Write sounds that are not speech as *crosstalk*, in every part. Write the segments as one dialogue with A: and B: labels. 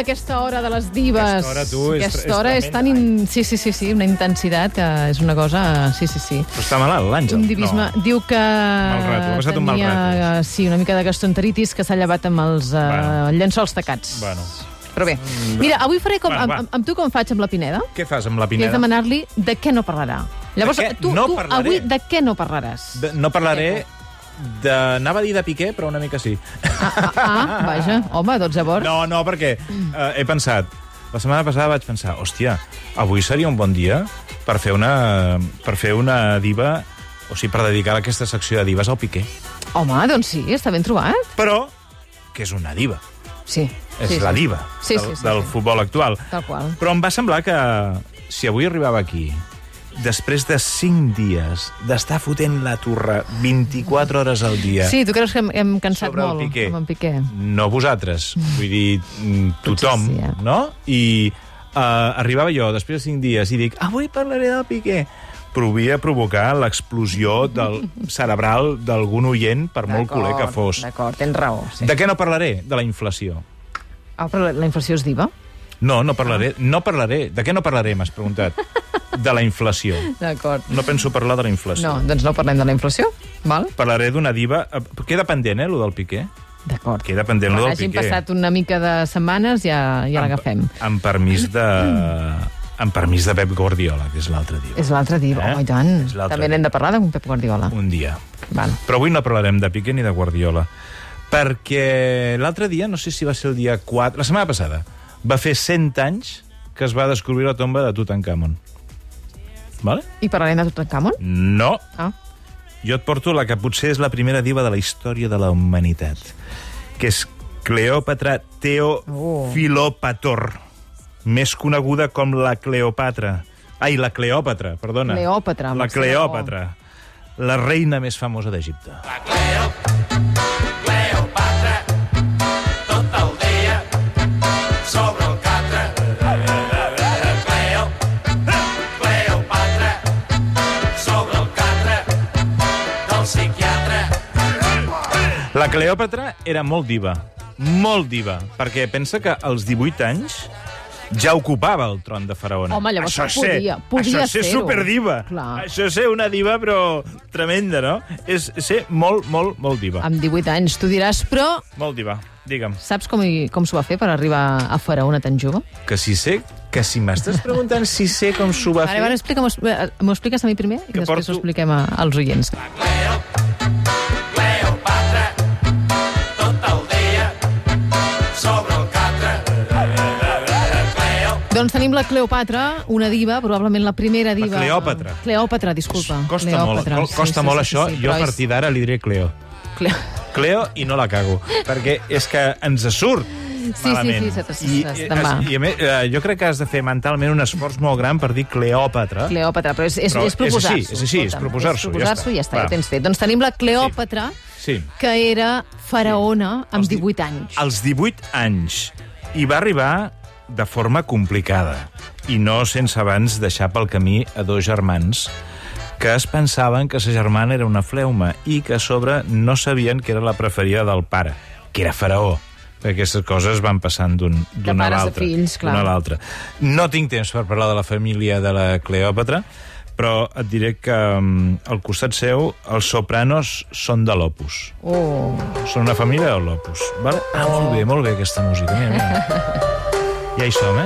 A: aquesta hora de les divas.
B: Aquesta hora, tu, és-
A: aquesta
B: és
A: hora és, tan...
B: tremenda.
A: In... Sí, sí, sí, sí, una intensitat que és una cosa... Sí, sí, sí.
B: Però està malalt, l'Àngel.
A: Un divisme.
B: No.
A: Diu que
B: rato, ha passat un mal
A: tenia, eh,
B: rato.
A: sí, una mica de gastroenteritis que s'ha llevat amb els uh,
B: Bueno.
A: llençols tacats.
B: Bueno. Mm.
A: Però bé, mira, avui faré com,
B: Bueno,
A: amb,
B: va.
A: amb, amb tu com faig amb la Pineda,
B: Què fas amb la
A: que és
B: Pineda?
A: demanar-li de què no parlarà. Llavors,
B: què
A: tu,
B: no
A: tu
B: parlaré?
A: avui de què no parlaràs?
B: *laughs* De, no parlaré de... Anava a dir de Piqué, però una mica sí.
A: Ah, ah, vaja, home, doncs llavors...
B: No, no, perquè eh, he pensat... La setmana passada vaig pensar, hòstia, avui seria un bon dia per fer una, per fer una diva... O sigui, per dedicar aquesta secció de divas al Piqué.
A: Home, doncs sí, està ben trobat.
B: Però, que és una diva.
A: Sí.
B: És
A: sí,
B: la
A: sí.
B: diva
A: Sí,
B: del,
A: sí, sí,
B: del
A: sí.
B: futbol actual.
A: Tal qual.
B: Però em va semblar que si avui arribava aquí, després de 5 dies d'estar fotent la torre 24 hores al dia
A: Sí, tu creus que hem, hem cansat
B: sobre el
A: molt
B: Piqué,
A: amb en Piqué.
B: no vosaltres, vull dir mm,
A: Potser
B: tothom,
A: sí, eh?
B: no? I eh, arribava jo després de 5 dies i dic, avui parlaré del Piqué. Provia provocar l'explosió
A: *laughs*
B: del cerebral d'algun oient, per molt culer que
A: D'acord,
B: fos.
A: D'acord, tens raó. Sí.
B: De què no parlaré? De la inflació.
A: Ah, però la- la inflació és diva?
B: No, no
A: Ah.
B: parlaré. No parlaré. De què no parlaré, m'has preguntat? De la inflació.
A: D'acord.
B: No penso parlar de la inflació.
A: No, doncs no parlem de la inflació, val?
B: Parlaré d'una diva... eh, Queda pendent, eh, lo del Piqué?
A: D'acord.
B: Queda pendent, lo
A: Quan
B: del
A: hagin
B: Piqué.
A: passat una mica de setmanes ja, ja l'agafem.
B: Amb permís de... Amb permís de Pep Guardiola, que és l'altre dia.
A: És l'altra diva,
B: Eh?
A: eh? home, i tant.
B: És l'altra
A: També n'hem de parlar d'un Pep Guardiola.
B: Un dia.
A: Val.
B: Però avui no parlarem de Piqué ni de Guardiola. Perquè l'altre dia, no sé si va ser el dia 4... La setmana passada. Va fer 100 anys que es va descobrir la tomba de Tutankamon. Vale?
A: I parlarem de Tutankamon?
B: No,
A: Ah,
B: Jo et porto la que potser és la primera diva de la història de la humanitat, que és Cleòpatra Teofilopator, més coneguda com la Cleopatra. Ai, la Cleòpatra, perdona.
A: Cleòpatra, amb
B: La
A: accent
B: Cleòpatra, la reina més famosa d'Egipte.
C: Cleopatra, tot el dia sobre el catre. Cleo, Cleopatra, sobre el catre del psiquiatre.
B: La Cleòpatra era molt diva, molt diva, perquè pensa que als 18 anys ja ocupava el tron de Faraona.
A: Home, llavors
B: això és ser-
A: podia- podia
B: Això és ser
A: ser-ho.
B: superdiva.
A: Clar.
B: Això és ser una diva, però tremenda, no? És ser molt, molt, molt diva.
A: amb 18 anys, tu diràs, però
B: Molt diva, digue'm.
A: saps com, hi- com s'ho va fer per arribar a Faraona tan jove?
B: Que si sé, que si m'estàs preguntant si sé com s'ho va
A: Ara, ara explica'm, eh, m'ho expliques a mi primer i
B: Ah, Que
A: després
B: porto-
A: ho expliquem a, als oients.
C: Cleo, Cleopatra, tot el dia sobre el catre. Cleo,
A: Doncs tenim la Cleopatra, una diva, probablement la primera diva.
B: Cleòpatra.
A: Cleòpatra, disculpa.
B: Costa
A: Cleòpatra.
B: molt, co- costa molt això. jo a
A: però és-
B: partir d'ara li diré Cleo.
A: Cle...
B: Cleo i no la cago, perquè és que ens surt
A: sí,
B: malament.
A: sí, se te- se
B: I,
A: te- se te'n va.
B: es, i a més, eh, jo crec que has de fer mentalment un esforç molt gran per dir Cleòpatra.
A: Cleòpatra, però és, és,
B: Però
A: és proposar-s'ho.
B: és així, és així, és
A: escolta'm,
B: proposar-s'ho,
A: És
B: ja
A: proposar-s'ho
B: està.
A: i ja està,
B: Va.
A: ja ho tens fet. Doncs tenim la Cleòpatra,
B: Sí.
A: que era faraona amb 18 anys.
B: Als 18 anys. I va arribar de forma complicada. I no sense abans deixar pel camí a dos germans que es pensaven que sa germana era una fleuma i que a sobre no sabien que era la preferida del pare, que era faraó. Perquè aquestes coses van passant d'un d'un a
A: pares a
B: l'altre.
A: fills, clar.
B: d'un a l'altre. No tinc temps per parlar de la família de la Cleòpatra, però et diré que mm, al costat seu els sopranos són de l'opus.
A: Oh.
B: Són una família de l'Opus, vale? Ah, molt bé, molt bé aquesta música, mira, mira. Ja hi som, eh?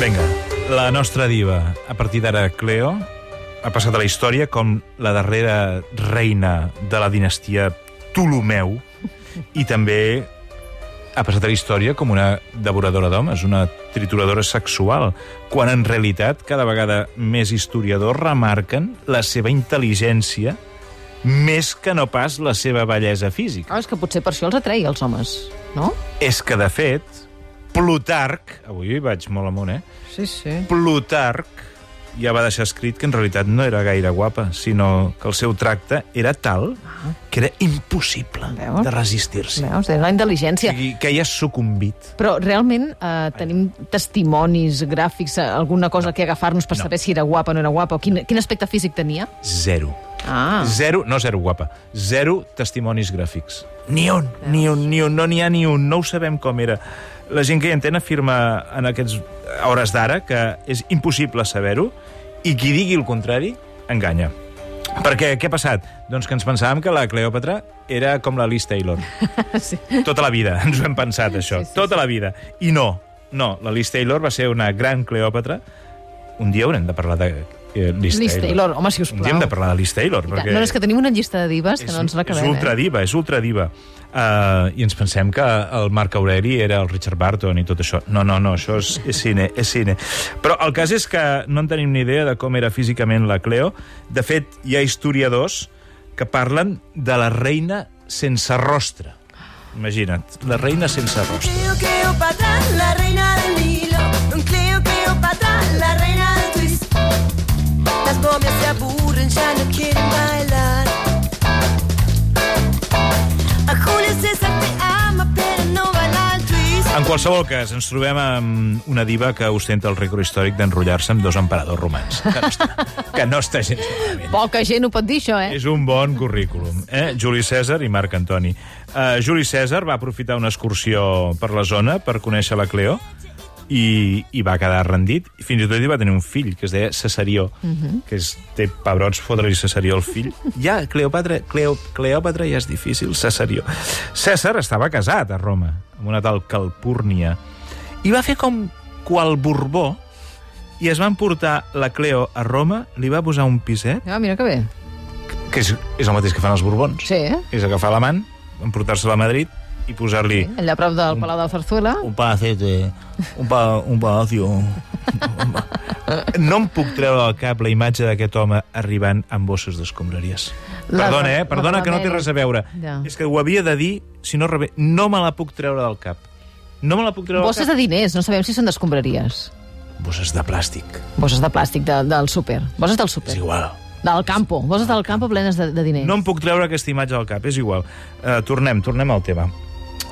B: Vinga, la nostra diva, a partir d'ara Cleo, ha passat a la història com la darrera reina de la dinastia Ptolomeu i també ha passat a la història com una devoradora d'homes, una trituradora sexual, quan en realitat cada vegada més historiadors remarquen la seva intel·ligència més que no pas la seva bellesa física.
A: Ah, és que potser per això els atreia els homes, no?
B: És que, de fet, Plutarc... Avui vaig molt amunt, eh?
A: Sí, sí.
B: Plutarc ja va deixar escrit que en realitat no era gaire guapa, sinó que el seu tracte era tal que era impossible
A: Veus?
B: de resistir-se.
A: Veus, és la
B: O
A: intel·ligència.
B: sigui, que ja has sucumbit.
A: Però realment eh, tenim testimonis, gràfics, eh, alguna cosa que agafar-nos per
B: No.
A: saber si era guapa o no era guapa, o quin, quin aspecte físic tenia?
B: Zero.
A: Ah,
B: Zero, no zero guapa, zero testimonis gràfics. Ni un, ni un, ni un, no n'hi ha ni un, no ho sabem com era. La gent que hi entén afirma en aquests a hores d'ara que és impossible saber-ho i qui digui el contrari enganya. Perquè què ha passat? Doncs que ens pensàvem que la Cleòpatra era com la Liz Taylor.
A: *laughs*
B: *laughs*
A: Sí.
B: Tota la vida ens ho hem pensat, això.
A: Sí, sí,
B: tota la vida. I no, no, la Liz Taylor va ser una gran Cleòpatra. Un dia haurem de parlar de eh, Liz,
A: Liz Taylor, home, si us
B: Un dia hem
A: plau.
B: de parlar de Liz Taylor, perquè...
A: No, és que tenim una llista de divas que no ens eh? l'acabem.
B: És ultradiva, és ultradiva. Uh, I ens pensem que el Marc Aureli era el Richard Barton i tot això. No, no, no, això és, és cine, és cine. Però el cas és que no en tenim ni idea de com era físicament la Cleo. De fet, hi ha historiadors que parlen de la reina sense rostre. Imagina't, la reina sense rostre.
D: Cleo, Cleopatra, la reina del Nilo. Don Cleo, Cleopatra, la reina del twist. Las momias se aburren, ya no quieren bailar. A Julio César te ama, pero no baila el twist.
B: En qualsevol cas, ens trobem amb una diva que ostenta el rècord històric d'enrotllar-se amb dos emperadors romans. Que no està, que no està gens malament.
A: Poca gent ho pot dir, això, eh?
B: És un bon currículum, eh? Juli César i Marc Antoni. Uh, Juli César va aprofitar una excursió per la zona per conèixer la Cleo i, i va quedar rendit. I Fins i tot hi va tenir un fill, que es deia Cesarió, que és, té pebrots fotre-li Cesarió al fill. Ja, Cleopatra, Cleo, Cleòpatra ja és difícil, Cesarió. César estava casat a Roma, amb una tal Calpurnia, i va fer com qual Borbó, i es van portar la Cleo a Roma, li va posar un piset,
A: Ah, mira que bé.
B: que és, és el mateix que fan els Borbons.
A: Sí, eh?
B: És agafar l'amant, emportar-se-la a Madrid i posar-li sí.
A: Allà a prop del Palau de la Zarzuela.
B: un palacete, un, pa, un palacio... no em puc treure del cap la imatge d'aquest home arribant amb bosses d'escombraries.
A: La-
B: Perdona, eh?
A: la
B: Perdona, que no té
A: Ramera.
B: res a veure.
A: Ja.
B: És que ho havia de dir, si no rebé... No me la puc treure del cap. No me la puc treure
A: Bosses
B: del
A: de diners, no sabem si són d'escombraries.
B: cap. Bosses de plàstic.
A: Bosses de plàstic de, del súper. Bosses del súper.
B: És igual.
A: Del campo. Bosses del campo plenes de, de diners.
B: No em puc treure aquesta imatge del cap, és igual. Uh, tornem, tornem al tema.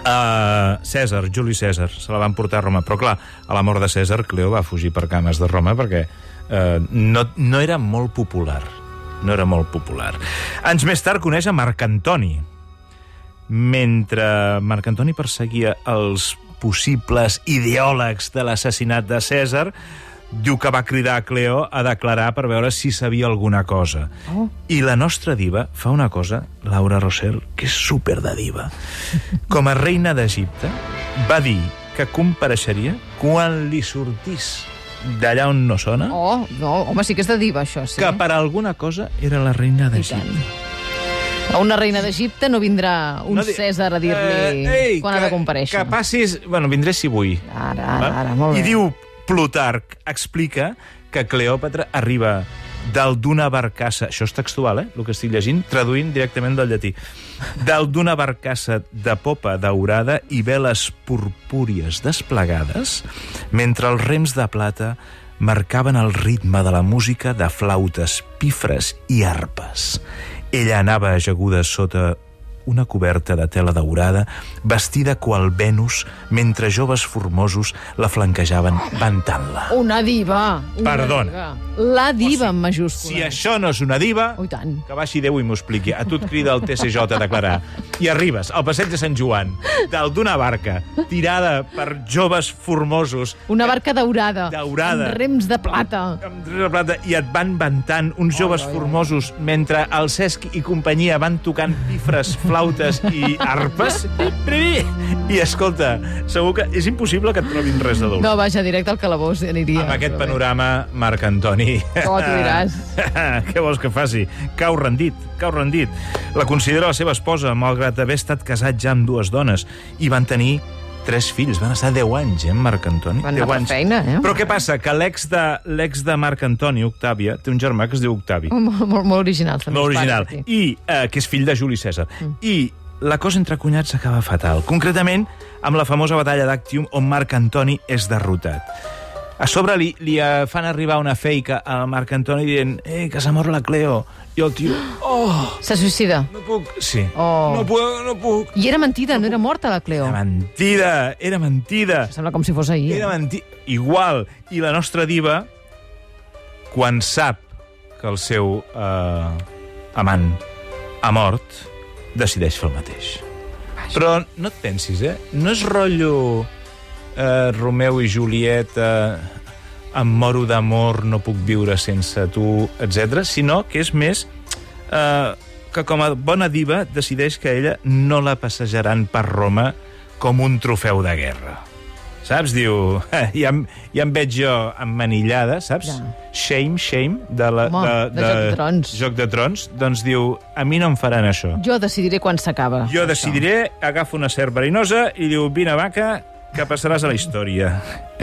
B: Uh, César, Juli César, se la van portar a Roma. Però clar, a la mort de César, Cleo va fugir per cames de Roma perquè uh, no, no era molt popular. No era molt popular. Anys més tard coneix a Marc Antoni. Mentre Marc Antoni perseguia els possibles ideòlegs de l'assassinat de César, diu que va cridar a Cleo a declarar per veure si sabia alguna cosa.
A: Oh.
B: I la nostra diva fa una cosa, Laura Rossell, que és super de diva. Com a reina d'Egipte, va dir que compareixeria quan li sortís d'allà on no sona, oh,
A: Oh, no, home, sí que és de diva, això, sí.
B: que per alguna cosa era la reina
A: I
B: d'Egipte.
A: tant. A una reina d'Egipte no vindrà un
B: di-
A: César a dir-li
B: Eh, ei,
A: quan ha de compareixer.
B: Que passis... Bueno, vindré si vull.
A: Ara, ara,
B: va?
A: ara, molt bé.
B: I diu Plutarc, explica que Cleòpatra arriba del d'una barcassa, això és textual, eh, el que estic llegint, traduint directament del llatí, del d'una barcassa de popa daurada i veles purpúries desplegades, mentre els rems de plata marcaven el ritme de la música de flautes, pifres i arpes. Ella anava ajaguda sota una coberta de tela daurada, vestida qual Venus, mentre joves formosos la flanquejaven ventant-la.
A: Una diva. Una
B: Perdona.
A: Diva. La diva, en
B: Si
A: majúscules.
B: això no és una diva,
A: Oh, i tant.
B: que baixi Déu i m'ho expliqui. A tu et crida el TCJ a declarar. I arribes al passeig de Sant Joan, del d'una barca, tirada per joves formosos,
A: Una barca daurada.
B: Daurada.
A: Amb rems de plata.
B: amb la plata, i et van ventant uns
A: Oh,
B: joves formosos mentre el Cesc i companyia van tocant pifres, flautes i arpes. I escolta, segur que és impossible que et trobin res de dolç.
A: No, vaja, directe al calabós aniria.
B: Amb aquest
A: però bé.
B: panorama, Marc Antoni...
A: Com t'ho diràs?
B: *laughs* Què vols que faci? Cau rendit, cau rendit. La considera la seva esposa, malgrat haver estat casat ja amb dues dones, i van tenir tres fills. Van estar 10 anys, eh, amb Marc Antoni?
A: Van anar
B: 10
A: per
B: anys.
A: feina, eh?
B: Però què passa? Que l'ex de, l'ex de Marc Antoni, Octàvia, té un germà que es diu Octavi.
A: Molt, molt, molt original. Mm. també,
B: Molt
A: els pares,
B: original.
A: aquí.
B: I, eh, que és fill de Juli César.
A: Mm.
B: I la cosa entre cunyats acaba fatal. Concretament, amb la famosa batalla d'Actium, on Marc Antoni és derrotat. A sobre li, li eh, fan arribar una fake al Marc Antoni dient eh, que s'ha mort la Cleo. I el tio... Oh,
A: Se suïcida.
B: no puc... Sí.
A: Oh.
B: No puc, no puc.
A: I era mentida, no era morta la Cleo.
B: Era mentida, era mentida.
A: Sembla com si fos ahir.
B: Era menti... Igual. I la nostra diva, quan sap que el seu eh, amant ha mort, decideix fer el mateix. Però no et pensis, eh? No és rotllo eh, Romeu i Julieta, em moro d'amor, no puc viure sense tu, etc, sinó que és més eh, que com a bona diva decideix que ella no la passejaran per Roma com un trofeu de guerra. Saps? Diu, eh, ja, em, ja em veig jo emmanillada, saps?
A: Ja.
B: Shame, shame, de la...
A: Home, de Joc de Trons.
B: Joc de Trons. Doncs diu, a mi no em faran això.
A: Jo decidiré quan s'acaba.
B: Jo
A: això.
B: decidiré, agafo una serp verinosa i diu, vine vaca, que passaràs a la història.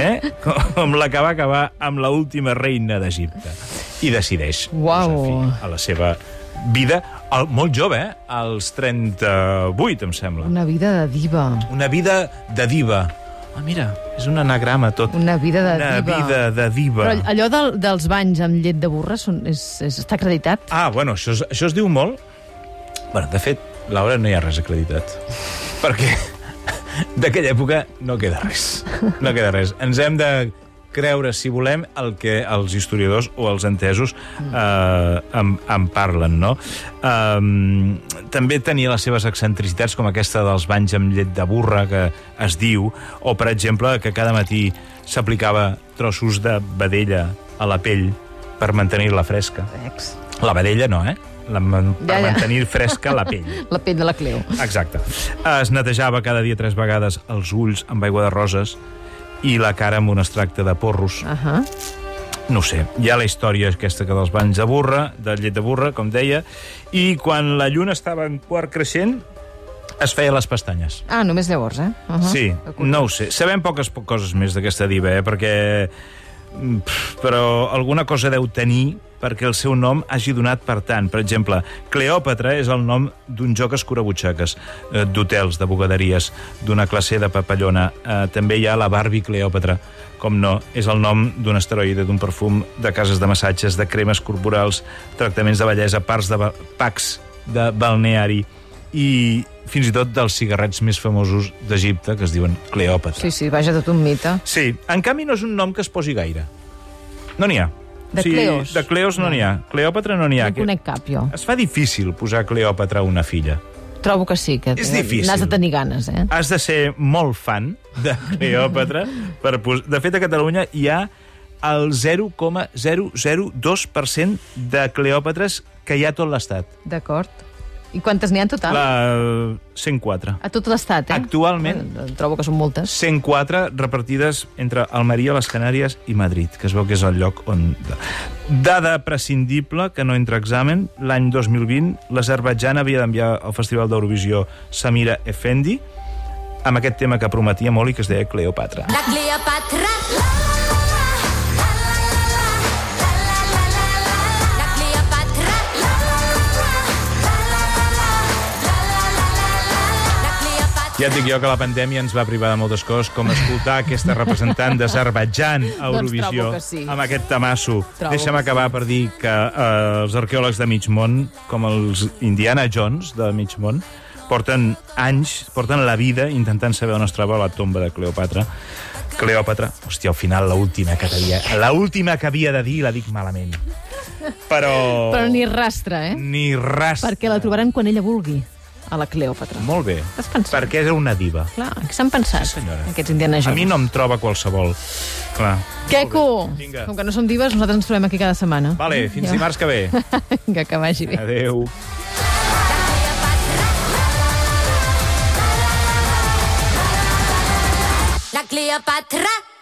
B: Eh? Com la que va acabar amb la última reina d'Egipte. I decideix
A: Uau.
B: posar fi a la seva vida, al, molt jove, eh? als 38, em sembla. Una,
A: Una vida de diva.
B: una vida de diva. Ah, mira, és un anagrama tot.
A: Una vida de
B: una
A: diva.
B: vida de diva.
A: Però allò del, dels banys amb llet de burra són, és, és, està acreditat?
B: Ah, bueno, això es, això es diu molt... Bueno, de fet, Laura no hi ha res acreditat. Perquè *laughs* d'aquella època no queda res. No queda res. Ens hem de creure, si volem, el que els historiadors o els entesos eh, en, en parlen, no? Um, també tenia les seves excentricitats, com aquesta dels banys amb llet de burra, que es diu, o, per exemple, que cada matí s'aplicava trossos de vedella a la pell per mantenir-la fresca.
A: Ex.
B: La vedella no, eh? La, man- per
A: Ja, ja.
B: mantenir fresca la
A: *laughs*
B: pell.
A: La pell de la Cleo.
B: Exacte. Es netejava cada dia tres vegades els ulls amb aigua de roses i la cara amb un extracte de porros.
A: Uh -huh.
B: No ho sé, hi ha la història aquesta que dels banys de burra, de llet de burra, com deia, i quan la lluna estava en quart creixent, es feia les pestanyes.
A: Ah, només llavors, eh? Uh -huh.
B: Sí, no ho sé. Sabem poques po- coses més d'aquesta diva, eh? perquè... mm, pf, Però alguna cosa deu tenir perquè el seu nom hagi donat per tant. Per exemple, Cleòpatra és el nom d'un joc escurabutxaques, eh, d'hotels, de bugaderies, d'una classe de papallona. Eh, també hi ha la Barbie Cleòpatra, com no, és el nom d'un asteroide, d'un perfum, de cases de massatges, de cremes corporals, tractaments de bellesa, parcs de, ba- packs de balneari i fins i tot dels cigarrets més famosos d'Egipte, que es diuen Cleòpatra.
A: Sí, sí, vaja, tot un mite.
B: Sí, en canvi no és un nom que es posi gaire. No n'hi ha.
A: De Cleos.
B: De Cleos no n'hi ha. Cleòpatra no n'hi
A: No
B: ha.
A: en conec cap, jo.
B: Es fa difícil posar Cleòpatra a una filla.
A: Trobo que sí, que
B: És difícil. Ah.
A: n'has de tenir ganes, eh?
B: Has de ser molt fan
A: *laughs*
B: de Cleòpatra. per pos... De fet, a Catalunya hi ha el 0,002% de Cleòpatres que hi ha a tot l'estat.
A: D'acord. I quantes n'hi ha en total?
B: La 104.
A: A tot l'estat, eh?
B: Actualment-
A: Bueno, Trobo que són moltes.
B: 104 repartides entre Almeria, les Canàries i Madrid, que es veu que és el lloc on... Dada prescindible, que no entra a examen, l'any 2020 l'Azerbaidjan havia d'enviar al Festival d'Eurovisió Samira Efendi amb aquest tema que prometia molt i que es deia Cleopatra.
E: La Cleopatra. La, la, la, la, la, la, la, la, la, la, la. La Cleopatra. La, la, la, la, la, la, la, la, la, la, la. La Cleopatra.
B: Ja et dic jo que la pandèmia ens va privar de moltes coses, com escoltar aquesta representant d'Azerbaidjan
A: Doncs
B: a Eurovisió
A: trobo que sí.
B: amb aquest tamasso.
A: Trobo
B: Deixa'm
A: que
B: acabar per dir que eh, els arqueòlegs de mig món, com els Indiana Jones de mig món, porten anys, porten la vida intentant saber on es troba la tomba de Cleopatra. Cleòpatra, hòstia, al final l'última que havia, l'última que havia de dir la dic malament. Però...
A: Però ni rastre, eh?
B: Oh. Ni rastre.
A: Perquè la trobaran quan ella vulgui, a la Cleòpatra.
B: Molt bé.
A: T'has pensat?
B: Perquè era una diva.
A: Clar, què s'han pensat,
B: Sí, senyora.
A: aquests Indiana Jones?
B: A mi no em troba qualsevol. Clar.
A: Queco!
B: Vinga.
A: Com que no som divas, nosaltres ens trobem aquí cada setmana.
B: Vale, fins
A: Ja.
B: dimarts que ve.
A: *laughs* Vinga, que vagi bé.
B: Adeu.
E: La Cleopatra.